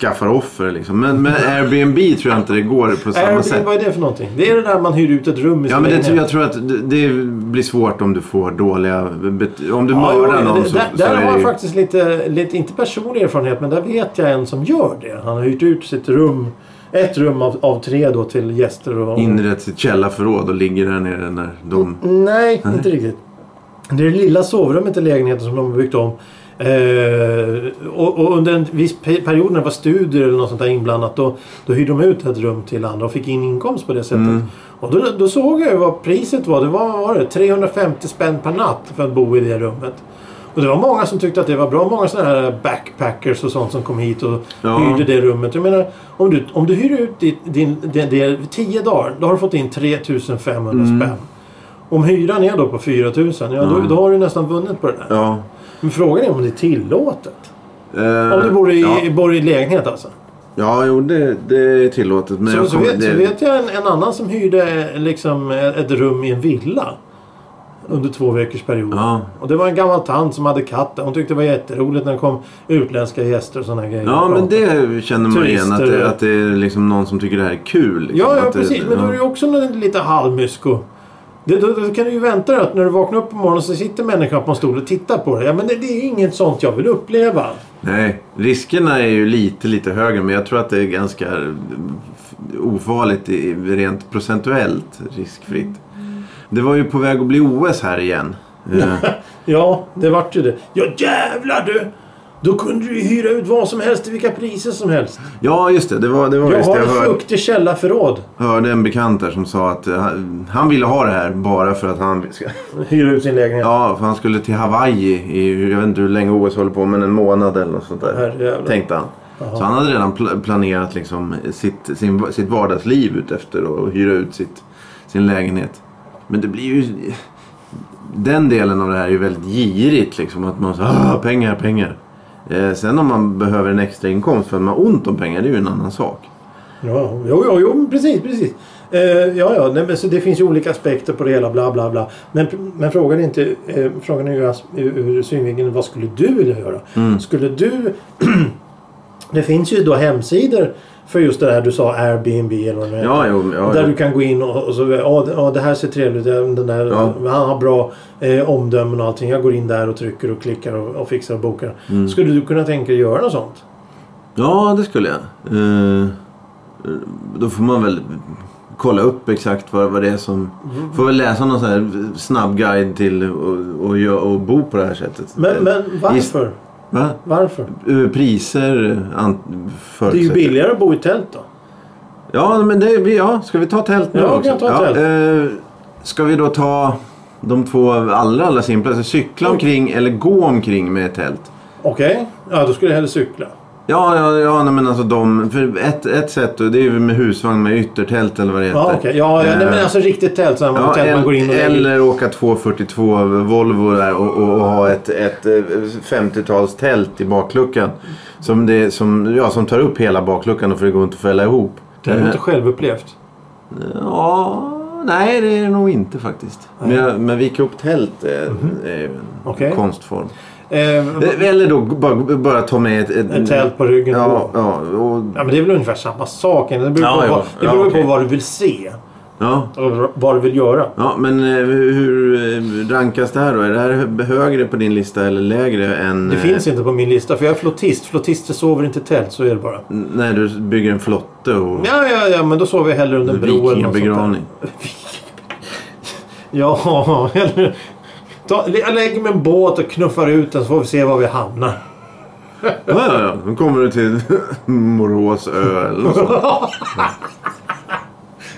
Speaker 2: skaffar offer liksom. Men, men Airbnb tror jag inte det går på samma
Speaker 1: Airbnb,
Speaker 2: sätt.
Speaker 1: vad är det för någonting? Det är det där man hyr ut ett rum i
Speaker 2: Ja,
Speaker 1: sin
Speaker 2: men det,
Speaker 1: lägenhet.
Speaker 2: tror- jag tror att det, det blir svårt om du får dåliga... bet- Om du
Speaker 1: Ja, jo,
Speaker 2: mördar någon
Speaker 1: det-
Speaker 2: så,
Speaker 1: där,
Speaker 2: så
Speaker 1: där har
Speaker 2: är det
Speaker 1: jag
Speaker 2: ju...
Speaker 1: faktiskt lite, lite, inte personlig erfarenhet, men där vet jag en som gör det. Han har hyrt ut sitt rum, ett rum av, av tre då till gäster. Och,
Speaker 2: inrett sitt källarförråd och ligger där nere när de...
Speaker 1: Nej, inte riktigt. Det är det lilla sovrummet i lägenheten som de har byggt om. Eh, och, och under en viss pe- period när det var studier eller något sånt där inblandat då, då hyrde de ut ett rum till andra och fick in inkomst på det sättet. Och då, då såg jag ju vad priset var. Det var, vad var det, 350 spänn per natt för att bo i det rummet. Och det var många som tyckte att det var bra. Många sådana här backpackers och sånt som kom hit och
Speaker 2: Ja.
Speaker 1: hyrde det rummet. Jag menar, om du, om du hyr ut ditt, din, det, det, 10 dagar, då har du fått in 3500 spänn. Om hyran är då på 4 000, ja, då,
Speaker 2: Mm.
Speaker 1: då har du nästan vunnit på det där.
Speaker 2: Ja.
Speaker 1: Men frågan är om det är tillåtet.
Speaker 2: Eh,
Speaker 1: Om du bor i,
Speaker 2: Ja,
Speaker 1: bor i lägenhet alltså.
Speaker 2: ja jo, det, det är tillåtet. Men
Speaker 1: Så,
Speaker 2: jag
Speaker 1: så,
Speaker 2: kommer-
Speaker 1: vet,
Speaker 2: det,
Speaker 1: så vet jag en, en annan som hyrde eh, liksom, eh, ett rum i en villa. Under två veckors period.
Speaker 2: Ja.
Speaker 1: Och det var en gammal tant som hade katt. där. Hon tyckte det var jätteroligt när det kom utländska gäster och sådana grejer.
Speaker 2: Ja, men det känner man igen. Att
Speaker 1: Turister.
Speaker 2: det, att det är liksom någon som tycker det här är kul. Liksom.
Speaker 1: Ja, ja
Speaker 2: att det,
Speaker 1: precis. Men då är det ju också något lite halvmysko. Det, då, då kan du ju vänta dig att när du vaknar upp på morgonen så sitter människan på en stol och tittar på dig. Ja, men det, det är inget sånt jag vill uppleva.
Speaker 2: Nej, riskerna är ju lite, lite högre. Men jag tror att det är ganska eh, f- ofarligt i- rent procentuellt riskfritt.
Speaker 1: Mm.
Speaker 2: Det var ju på väg att bli OS här igen. Eh,
Speaker 1: Ja, det vart ju det. Ja, jävlar du! Då kunde du ju hyra ut vad som helst till vilka priser som helst.
Speaker 2: Ja, just det. Det var, det var
Speaker 1: Jag
Speaker 2: just
Speaker 1: har
Speaker 2: det. Jag
Speaker 1: ett
Speaker 2: hör,
Speaker 1: fuktig källarförråd.
Speaker 2: hörde en bekant där som sa att eh, han, han ville ha det här bara för att han... Ska,
Speaker 1: Hyra ut sin lägenhet.
Speaker 2: ja, för han skulle till Hawaii i, jag vet inte hur länge OS håller på, men en månad eller något sånt där.
Speaker 1: Herrejävlar.
Speaker 2: Tänkte han. Så han hade redan pl- planerat liksom sitt, sin, sitt vardagsliv utefter att hyra ut sitt, sin lägenhet. Men det blir ju... Den delen av det här är ju väldigt girigt liksom. Att man så ah, pengar, pengar. Eh, sen om man behöver en extra inkomst för att man har ont om pengar, det är ju en annan sak.
Speaker 1: Ja, jo, jo, jo precis, precis. Eh, ja, ja, nej, men så det finns ju olika aspekter på det hela, bla, bla, bla. Men, men frågan är inte, eh, frågan är ju as- ur, ur synvinkeln, vad skulle du vilja göra?
Speaker 2: Mm.
Speaker 1: Skulle du... det finns ju då hemsidor för just det här du sa, Airbnb eller vad det är.
Speaker 2: Ja, jo, ja,
Speaker 1: Där
Speaker 2: jo.
Speaker 1: du kan gå in och, och så, ja, det- ja det här ser trevligt ut, den där,
Speaker 2: Ja.
Speaker 1: han har bra eh, omdömen och allting. Jag går in där och trycker och klickar och, och fixar och bokar.
Speaker 2: Mm.
Speaker 1: Skulle du kunna tänka dig göra något sånt?
Speaker 2: Ja, det skulle jag. Eh, då får man väl kolla upp exakt vad, vad det är som...
Speaker 1: Mm.
Speaker 2: Får väl läsa någon sån här snabb guide till och, och, gö- och bo på det här sättet.
Speaker 1: Men, men
Speaker 2: Gis-
Speaker 1: varför?
Speaker 2: Va?
Speaker 1: Varför?
Speaker 2: Eh, Priser, an,
Speaker 1: Det är ju
Speaker 2: förutsättningar.
Speaker 1: billigare att bo i tält då.
Speaker 2: Ja, men det, vi- ja, ska vi ta tält nu
Speaker 1: Ja, vi kan
Speaker 2: också?
Speaker 1: ta tält.
Speaker 2: eh, ska vi då ta de två allra, allra simplaste? Cykla omkring eller gå omkring med ett tält?
Speaker 1: Okej, ja då skulle jag hellre cykla.
Speaker 2: Ja, ja, ja nej, men alltså de... För ett, ett sätt, och det är ju med husvagn med yttertält eller vad det heter.
Speaker 1: Ja, okej. Ja, ja, nej, men
Speaker 2: Eh,
Speaker 1: alltså riktigt tält så här man,
Speaker 2: Ja,
Speaker 1: tält, man går in och
Speaker 2: eller,
Speaker 1: lägger-
Speaker 2: eller åka 242 Volvo där och, och, och ha ett, ett eh, 50-talstält i bakluckan. Som, det, som, ja, som tar upp hela bakluckan och för det går inte att fälla ihop. Eh,
Speaker 1: Det har du inte självupplevt.
Speaker 2: Ja, nej det är det nog inte faktiskt. Men, men vika upp tält är, är ju en
Speaker 1: Mhm. Okej.
Speaker 2: konstform.
Speaker 1: Eh,
Speaker 2: Eh, Eller då g- bara, bara ta med ett... ett
Speaker 1: Ett tält på ryggen
Speaker 2: Ja,
Speaker 1: på.
Speaker 2: ja, och,
Speaker 1: ja, men det är väl ungefär samma sak. Det beror,
Speaker 2: Ja,
Speaker 1: på,
Speaker 2: ja.
Speaker 1: vad, det
Speaker 2: Ja,
Speaker 1: beror ju
Speaker 2: okej.
Speaker 1: på vad du vill se
Speaker 2: ja.
Speaker 1: och vad du vill göra.
Speaker 2: Ja, men eh, hur eh, rankas det här då? Är det här hö- högre på din lista eller lägre än...
Speaker 1: Det
Speaker 2: eh,
Speaker 1: finns inte på min lista för jag är flottist. Flottister sover inte i tält, så är det bara.
Speaker 2: När du bygger en flotte och...
Speaker 1: Ja, ja, ja, men då sover jag hellre under en bro eller något sånt där.
Speaker 2: Vikingabegravning.
Speaker 1: Ja, eller... Ta, jag lägger mig en båt och knuffar ut den så får vi se var vi hamnar.
Speaker 2: Ja, ja, ja. Då kommer du till Morås ö eller något sånt.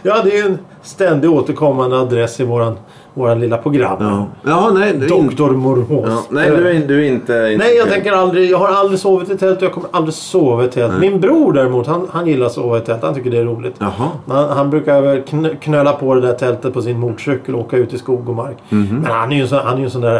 Speaker 1: Ja, det är ju en ständig återkommande adress i våran, våran lilla program.
Speaker 2: Ja. Jaha, nej. Du är inte-
Speaker 1: Doktor Morhås.
Speaker 2: Ja, nej, du är, in- du är inte... inte
Speaker 1: Nej, jag tänker aldrig. Jag har aldrig sovit i tält och jag kommer aldrig sova i tält. Min bror däremot, han, han gillar att sova i tält. Han tycker det är roligt.
Speaker 2: Jaha.
Speaker 1: Han, han brukar väl kn- knöla på det där tältet på sin motorcykel och åka ut i skog och mark.
Speaker 2: Mhm.
Speaker 1: Men han är ju en sån, han är ju en sån där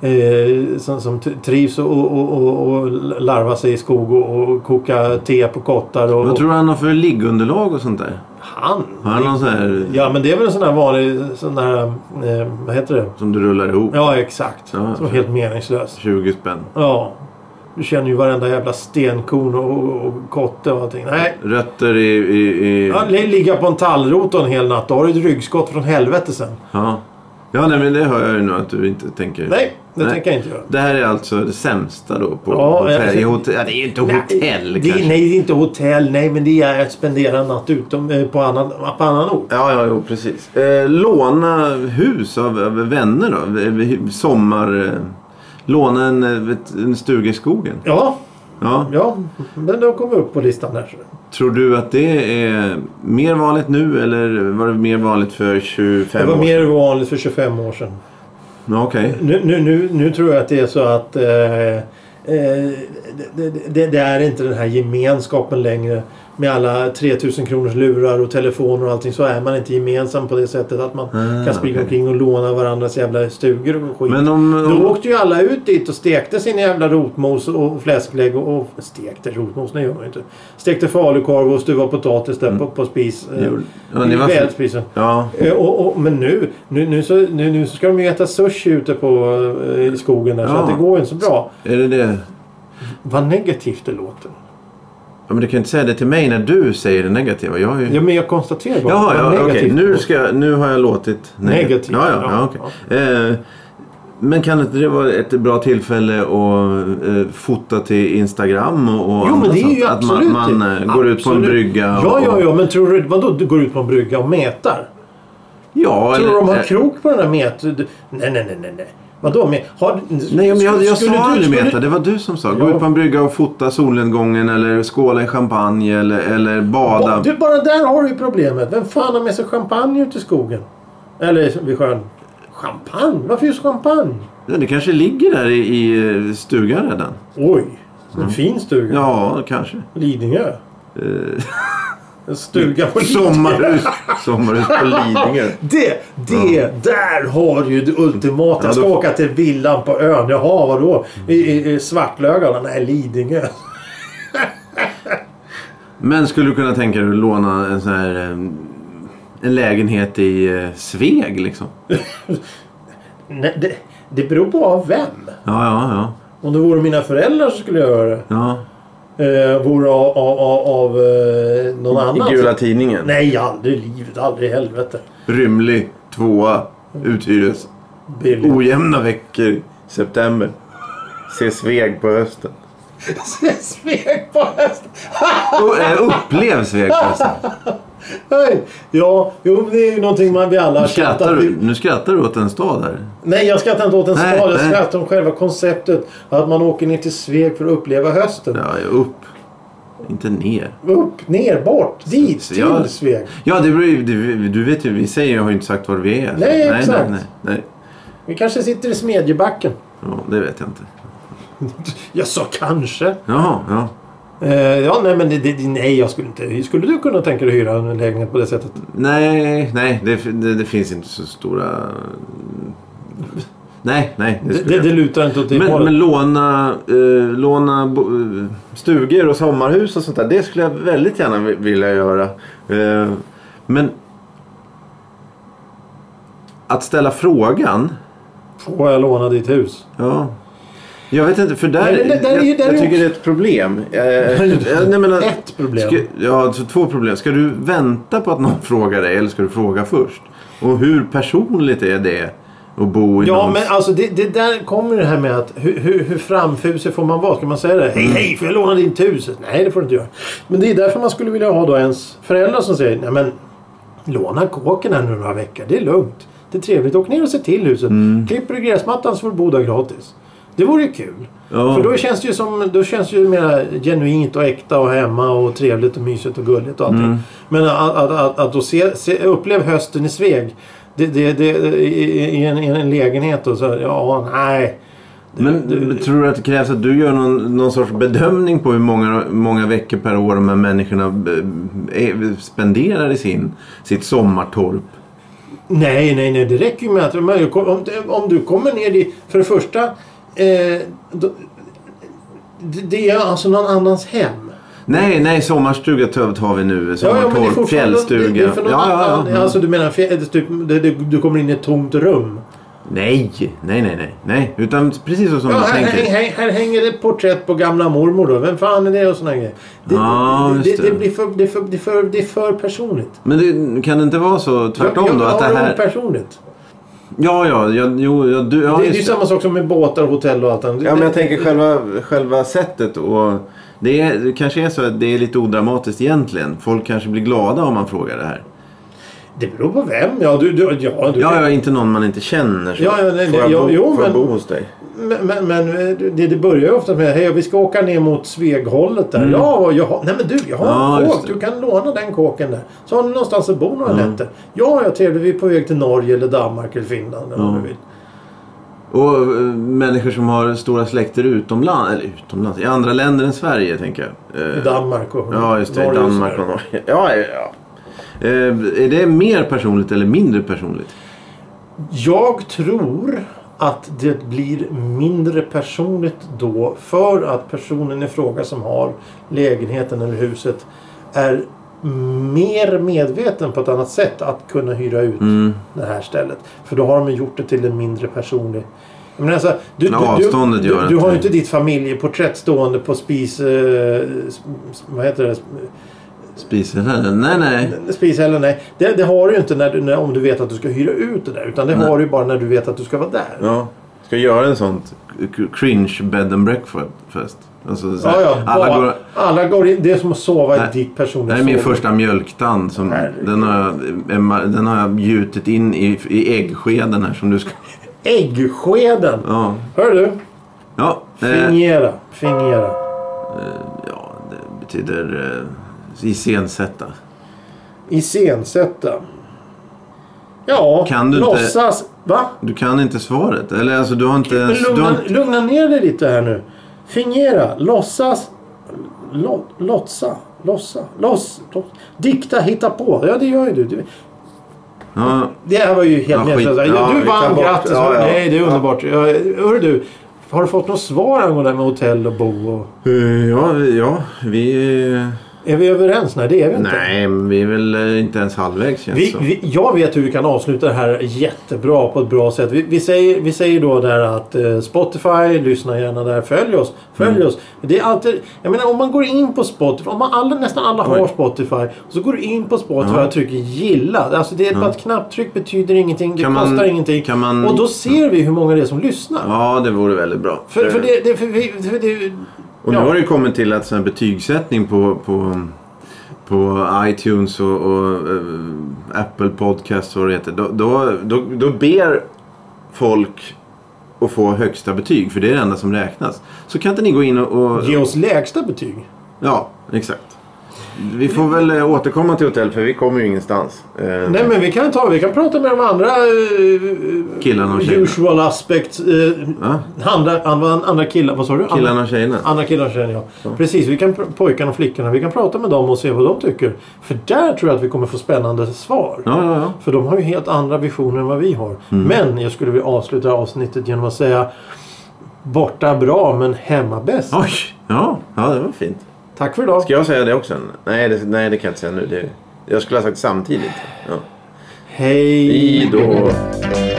Speaker 1: eh, som, som t- trivs och, och, och, och larva sig i skog och, och koka te på kottar. Och,
Speaker 2: Vad tror du han har för liggunderlag och sånt där?
Speaker 1: Han?
Speaker 2: Har han någon sån här
Speaker 1: Ja, men det är väl en sån här vanlig... Sån här, eh, vad heter det?
Speaker 2: som du rullar ihop?
Speaker 1: Ja, exakt.
Speaker 2: Ja.
Speaker 1: Som är helt meningslös.
Speaker 2: 20 spänn.
Speaker 1: Ja. Du känner ju varenda jävla stenkorn och, och, och kotte och allting. Nej.
Speaker 2: Rötter i... i, i...
Speaker 1: Ja, li- ligga på en tallrot en hel natt. Då har du ett ryggskott från helvete sen.
Speaker 2: Ja. Ja, nej men det hör jag ju nu att du inte tänker...
Speaker 1: Nej, det tänker jag inte göra.
Speaker 2: Det här är alltså det sämsta då på
Speaker 1: Ja,
Speaker 2: hotell.
Speaker 1: jag-
Speaker 2: I hotell. Ja, det är ju inte hotell
Speaker 1: nej,
Speaker 2: kanske.
Speaker 1: det, nej, det är inte hotell. Nej, men det är att spendera en natt utom, eh, på, annan, på annan ort.
Speaker 2: Ja, ja, jo, precis. Eh, låna hus av, av vänner då? Eh, Sommar... Eh, låna en, eh, ett- en stuga i skogen?
Speaker 1: Ja,
Speaker 2: Ja.
Speaker 1: ja. Men då kommer vi upp på listan där.
Speaker 2: Tror du att det är mer vanligt nu eller var det mer vanligt för 25
Speaker 1: Det var
Speaker 2: år
Speaker 1: mer vanligt för 25 år sedan.
Speaker 2: Ja, Okej.
Speaker 1: Nu, nu, nu, nu tror jag att det är så att eh, eh, det, det, det är inte den här gemenskapen längre med alla 3000 kronors lurar och telefoner och allting så är man inte gemensam på det sättet att man
Speaker 2: Ah,
Speaker 1: kan springa
Speaker 2: okej.
Speaker 1: omkring och låna varandras jävla stugor och skit.
Speaker 2: Men om... om
Speaker 1: Då åkte ju alla ut dit och stekte sin jävla rotmos och fläsklägg och, och stekte rotmos, nej gör man ju inte. Stekte falukorv och stuvade potatis där på, på spis. eh,
Speaker 2: Gjorde- ja,
Speaker 1: I
Speaker 2: ni var-
Speaker 1: vedspisen.
Speaker 2: ja.
Speaker 1: Eh, Och, och, men nu, nu, nu, så, nu, nu så ska de ju äta sushi ute på, eh, i skogen där, så
Speaker 2: Ja.
Speaker 1: att det går ju inte så bra.
Speaker 2: Är det det?
Speaker 1: Vad negativt det låter.
Speaker 2: Mm. Ja, men du kan ju inte säga det till mig när du säger det negativa. Jag har ju...
Speaker 1: Ja, men jag konstaterar bara.
Speaker 2: Jaha,
Speaker 1: vad
Speaker 2: ja, okej.
Speaker 1: negativt det
Speaker 2: Nu,
Speaker 1: låter.
Speaker 2: ska, jag- nu har jag låtit
Speaker 1: Negativt,
Speaker 2: Ja, ja,
Speaker 1: ja,
Speaker 2: ja, okej. Eh, men kan inte det vara ett bra tillfälle att eh, fota till Instagram och, och
Speaker 1: Jo,
Speaker 2: andra
Speaker 1: men det är
Speaker 2: sånt?
Speaker 1: ju
Speaker 2: Att
Speaker 1: absolut
Speaker 2: man, man eh,
Speaker 1: det.
Speaker 2: går ut på en
Speaker 1: Absolut.
Speaker 2: brygga och...
Speaker 1: Ja, ja, ja. Men tror du... Vadå du går ut på en brygga och mätar?
Speaker 2: ja
Speaker 1: Tror du de har
Speaker 2: eh,
Speaker 1: krok på den där met? du- Nej, nej, nej, nej, nej. Vadå? Men, har,
Speaker 2: Nej, men jag,
Speaker 1: skulle
Speaker 2: jag sa
Speaker 1: du-
Speaker 2: aldrig
Speaker 1: skulle-
Speaker 2: Meta. Det var du som sa. Gå
Speaker 1: Ja.
Speaker 2: ut på en brygga och fota solnedgången eller skåla i champagne eller, eller bada.
Speaker 1: Du, bara där har du ju problemet. Vem fan har med sig champagne ut i skogen? Eller vid sjön? Champagne? Varför just champagne?
Speaker 2: Ja, det kanske ligger där i, i eh, stugan redan.
Speaker 1: Oj, en fin stuga.
Speaker 2: Mm. Ja, Eh. kanske.
Speaker 1: Lidingö. En stuga på Lidingö.
Speaker 2: Sommarhus, sommarhus på Lidingö.
Speaker 1: Det, det, där har du ju det ultimata.
Speaker 2: Ja,
Speaker 1: Jag ska
Speaker 2: då-
Speaker 1: åka till villan på ön. Jaha, vadå? I, i, i Svartlögarna? Nej, Lidingö.
Speaker 2: Men skulle du kunna tänka dig att låna en sån här... eh, En lägenhet i eh, Sveg liksom?
Speaker 1: Nej, det, det beror på av vem.
Speaker 2: Ja, ja, ja.
Speaker 1: Om det vore mina föräldrar så skulle jag göra det.
Speaker 2: ja.
Speaker 1: Eh, vore av, av, av, av eh, någon annan.
Speaker 2: I Gula Tidningen.
Speaker 1: Nej, aldrig i livet. Aldrig i helvete.
Speaker 2: Rymlig, tvåa, uthyres.
Speaker 1: Billigt.
Speaker 2: Ojämna veckor i september. Se Sveg på hösten.
Speaker 1: Svek på hästen.
Speaker 2: Och, eh, upplev Sveg på hösten.
Speaker 1: Hej. Ja, jo, men det är ju någonting man vi alla har
Speaker 2: Nu
Speaker 1: känt
Speaker 2: skrattar
Speaker 1: att vi-
Speaker 2: du, nu skrattar du åt en stad här.
Speaker 1: Nej, jag skrattar inte åt en
Speaker 2: Nej,
Speaker 1: stad. Jag
Speaker 2: nej.
Speaker 1: skrattar om själva konceptet. Att man åker ner till Sveg för att uppleva hösten.
Speaker 2: Ja, upp. Inte ner.
Speaker 1: Upp, ner, bort, dit,
Speaker 2: så
Speaker 1: till
Speaker 2: jag-
Speaker 1: Sveg.
Speaker 2: Ja, det beror ju, du, du vet ju, vi säger jag har ju inte sagt var vi är.
Speaker 1: Nej, exakt.
Speaker 2: Nej, nej, nej.
Speaker 1: Vi kanske sitter i Smedjebacken.
Speaker 2: Ja, det vet jag inte.
Speaker 1: Jag sa kanske.
Speaker 2: Jaha, ja.
Speaker 1: Eh, ja, nej, men det, det, nej, jag skulle inte. Skulle du kunna tänka dig hyra en lägenhet på det sättet?
Speaker 2: Nej, nej, det, det, det finns inte så stora... Nej, nej. Det
Speaker 1: Det,
Speaker 2: skulle
Speaker 1: det,
Speaker 2: jag-
Speaker 1: det lutar inte åt det
Speaker 2: men,
Speaker 1: hållet.
Speaker 2: men låna, eh, låna bo, eh, stugor och sommarhus och sånt där. Det skulle jag väldigt gärna vi- vilja göra. Eh, men att ställa frågan.
Speaker 1: Får jag låna ditt hus?
Speaker 2: Ja. Jag vet inte, för där,
Speaker 1: Nej, det- där är
Speaker 2: jag,
Speaker 1: ju- där är
Speaker 2: jag tycker
Speaker 1: också-
Speaker 2: det är ett problem. Eh, eh, nej, men, att-
Speaker 1: Ett problem.
Speaker 2: Ska, ja, så två problem. Ska du vänta på att någon frågar dig eller ska du fråga först? Och hur personligt är det att bo i
Speaker 1: Ja,
Speaker 2: någons...
Speaker 1: men alltså det, det där kommer det här med att hur, hur, hur framfusig får man vara? Ska man säga det? Hej, hej, får jag låna din hus? Nej, det får du inte göra. Men det är därför man skulle vilja ha då ens föräldrar som säger nej men låna kåken här nu några veckor. Det är lugnt. Det är trevligt. Åk ner och se till huset. Klipper du gräsmattan så får du bo där gratis. Det vore ju kul.
Speaker 2: Ja.
Speaker 1: För då känns det ju som, då känns det ju mer genuint och äkta och hemma och trevligt och mysigt och gulligt och allting. Men att, att, att, att då se, se, uppleva hösten i Sveg det, det, det, i, i, en, i en lägenhet och så, ja, nej.
Speaker 2: Men du- tror du att det krävs att du gör någon, någon sorts bedömning på hur många, många veckor per år de här människorna eh, är- spenderar i sin, sitt sommartorp?
Speaker 1: Nej, nej, nej. Det räcker ju med att men om, om- om du kommer ner i... För det första. Eh, då, det, det är alltså någon annans hem.
Speaker 2: Nej, nej, sommarstuga Tövt har vi nu. Sommartorp, fjällstuga.
Speaker 1: Det, det är för någon
Speaker 2: ja, ja,
Speaker 1: annan.
Speaker 2: ja.
Speaker 1: Alltså du menar fjäll, typ, det, det, du kommer in i ett tomt rum.
Speaker 2: Nej, nej, nej, nej, nej. Utan precis så som
Speaker 1: Ja,
Speaker 2: du
Speaker 1: här,
Speaker 2: tänker.
Speaker 1: här, här, här hänger det ett porträtt på gamla mormor då. Vem fan är det och såna grejer. Det,
Speaker 2: Ja,
Speaker 1: det,
Speaker 2: just
Speaker 1: det,
Speaker 2: det.
Speaker 1: det, blir för, det, är för, det, är för, det är för personligt.
Speaker 2: Men det, kan det inte vara så tvärtom
Speaker 1: jag, jag
Speaker 2: då? Att det
Speaker 1: har
Speaker 2: här...
Speaker 1: personligt.
Speaker 2: Ja, ja, ja, jo, ja, du,
Speaker 1: det,
Speaker 2: ja,
Speaker 1: det är ju
Speaker 2: just
Speaker 1: samma sak som med båtar, hotell och allt annat.
Speaker 2: Ja, men jag tänker själva, själva sättet och det, är, det kanske är så att det är lite odramatiskt egentligen. Folk kanske blir glada om man frågar det här.
Speaker 1: Det beror på vem. Ja, du, du, ja, du,
Speaker 2: Ja, ja, inte någon man inte känner. Så.
Speaker 1: Ja, ja, nej,
Speaker 2: får jag,
Speaker 1: nej, ja,
Speaker 2: bo,
Speaker 1: jo,
Speaker 2: får jag
Speaker 1: men-
Speaker 2: bo hos dig?
Speaker 1: Men, men, men eh, det, det börjar ju ofta med hej vi ska åka ner mot Sveghållet där. Ja, jag har, nej men du, jag har
Speaker 2: Mm. Ja,
Speaker 1: en
Speaker 2: just
Speaker 1: kåk.
Speaker 2: det. Mm.
Speaker 1: Du kan låna den kåken där. Så har ni någonstans att bo några nätter. Ja, ja trevligt. Vi är på väg till Norge eller Danmark eller Finland eller vad du vill.
Speaker 2: Och eh, människor som har stora släkter utomlands, eller utomlands, i andra länder än Sverige tänker jag. Eh,
Speaker 1: I Danmark och
Speaker 2: Ja, just det. I
Speaker 1: Mm. Norge och
Speaker 2: Danmark och
Speaker 1: sådär.
Speaker 2: Norge. Ja, ja, ja. Eh, är det mer personligt eller mindre personligt?
Speaker 1: Jag tror att det blir mindre personligt då för att personen i fråga som har lägenheten eller huset är mer medveten på ett annat sätt att kunna hyra ut
Speaker 2: Mm.
Speaker 1: det här stället. För då har de ju gjort det till en mindre personlig... Jag menar alltså, du,
Speaker 2: Ja,
Speaker 1: du,
Speaker 2: avståndet
Speaker 1: du,
Speaker 2: gör
Speaker 1: du,
Speaker 2: att
Speaker 1: du har
Speaker 2: det-
Speaker 1: ju inte ditt familjeporträtt stående på spis... Eh, s- s- vad heter det?
Speaker 2: Spisen här? Nej, nej.
Speaker 1: Spishällen, nej. Det, det har du ju inte när du, när, om du vet att du ska hyra ut det där. Utan det
Speaker 2: Nej.
Speaker 1: har du ju bara när du vet att du ska vara där.
Speaker 2: Ja. Ska göra en sån cringe bed and breakfast. Alltså, så här,
Speaker 1: Ja, ja. Alla,
Speaker 2: alla
Speaker 1: bara,
Speaker 2: går,
Speaker 1: alla går in. Det är som att sova
Speaker 2: Nej.
Speaker 1: i ditt
Speaker 2: det
Speaker 1: personliga
Speaker 2: här är min
Speaker 1: sovrum.
Speaker 2: första mjölktand. Som,
Speaker 1: Herregud.
Speaker 2: den, har jag, Emma- den har jag gjutit in i, i äggskeden här som du ska...
Speaker 1: Äggskeden!
Speaker 2: Ja.
Speaker 1: Hör du?
Speaker 2: Ja, eh,
Speaker 1: Fingera. Fingera.
Speaker 2: ja det betyder eh, iscensätta.
Speaker 1: Iscensätta. Ja,
Speaker 2: Kan du inte-
Speaker 1: låtsas. Va?
Speaker 2: Du kan inte svaret. Eller alltså du har inte
Speaker 1: Men
Speaker 2: ens... Du har,
Speaker 1: lugna,
Speaker 2: inte-
Speaker 1: lugna ner dig lite här nu. Fingera. Låtsas. Lo, lotsa. Lossa. Loss. loss. Dikta. Hitta på. Ja, det gör ju du. du.
Speaker 2: ja,
Speaker 1: Det här var ju helt
Speaker 2: Ja, skit.
Speaker 1: meningslöst.
Speaker 2: Ja,
Speaker 1: du
Speaker 2: vi tar
Speaker 1: vann,
Speaker 2: bort.
Speaker 1: grattis!
Speaker 2: Ja, ja.
Speaker 1: Nej, det är underbart. Ja. Hörru du, har du fått något svar angående det här med hotell och bo? Och...
Speaker 2: Eh, ja, vi- ja, vi... eh,
Speaker 1: Är vi överens? Nej, det är vi inte.
Speaker 2: Nej, men vi är väl eh, inte ens halvvägs känns
Speaker 1: Vi,
Speaker 2: som.
Speaker 1: vi, jag vet hur vi kan avsluta det här jättebra på ett bra sätt. Vi, vi, säger, vi säger då där att eh, Spotify, lyssna gärna där, följ oss. Följ
Speaker 2: Mm.
Speaker 1: oss. Det är alltid, jag menar om man går in på Spotify, om man alla, nästan alla har
Speaker 2: Oj.
Speaker 1: Spotify. Så går du in på Spotify
Speaker 2: Ja.
Speaker 1: och trycker gilla. Alltså det är bara ett knapptryck betyder ingenting, det
Speaker 2: Kan man-
Speaker 1: kostar ingenting.
Speaker 2: kan man-
Speaker 1: Och då ser vi hur många det är som lyssnar.
Speaker 2: Ja, det vore väldigt bra.
Speaker 1: För, för det... det, för, vi- för det
Speaker 2: Och nu
Speaker 1: ja.
Speaker 2: har det ju kommit till att sån här betygssättning på, på, på iTunes och, och eh, Apple Podcasts och vad det heter. Då, då, då, då ber folk att få högsta betyg, för det är det enda som räknas. Så kan inte ni gå in och... och
Speaker 1: Ge oss lägsta betyg.
Speaker 2: ja, exakt. Vi får väl eh, återkomma till hotell, för vi kommer ju ingenstans. Eh,
Speaker 1: Nej men vi kan ta, vi kan prata med de andra eh,
Speaker 2: Killarna och tjejerna.
Speaker 1: usual aspects. eh,
Speaker 2: Ja,
Speaker 1: andra, andra, andra killar, vad sa du? Andra-
Speaker 2: killarna och tjejerna.
Speaker 1: Andra killar känner jag. Precis, vi kan pr- pojkarna och flickorna. Vi kan prata med dem och se vad de tycker. För där tror jag att vi kommer få spännande svar.
Speaker 2: Ja, Mm. ja, ja.
Speaker 1: För de har ju helt andra visioner än vad vi har. Men jag skulle vilja avsluta avsnittet genom att säga Borta bra men hemma bäst.
Speaker 2: Oj! Ja, ja, det var fint.
Speaker 1: Tack för idag.
Speaker 2: Ska jag säga det också? Nej, det, nej, det kan jag inte säga nu. Det, jag skulle ha sagt samtidigt. Ja.
Speaker 1: Hej
Speaker 2: Hej då!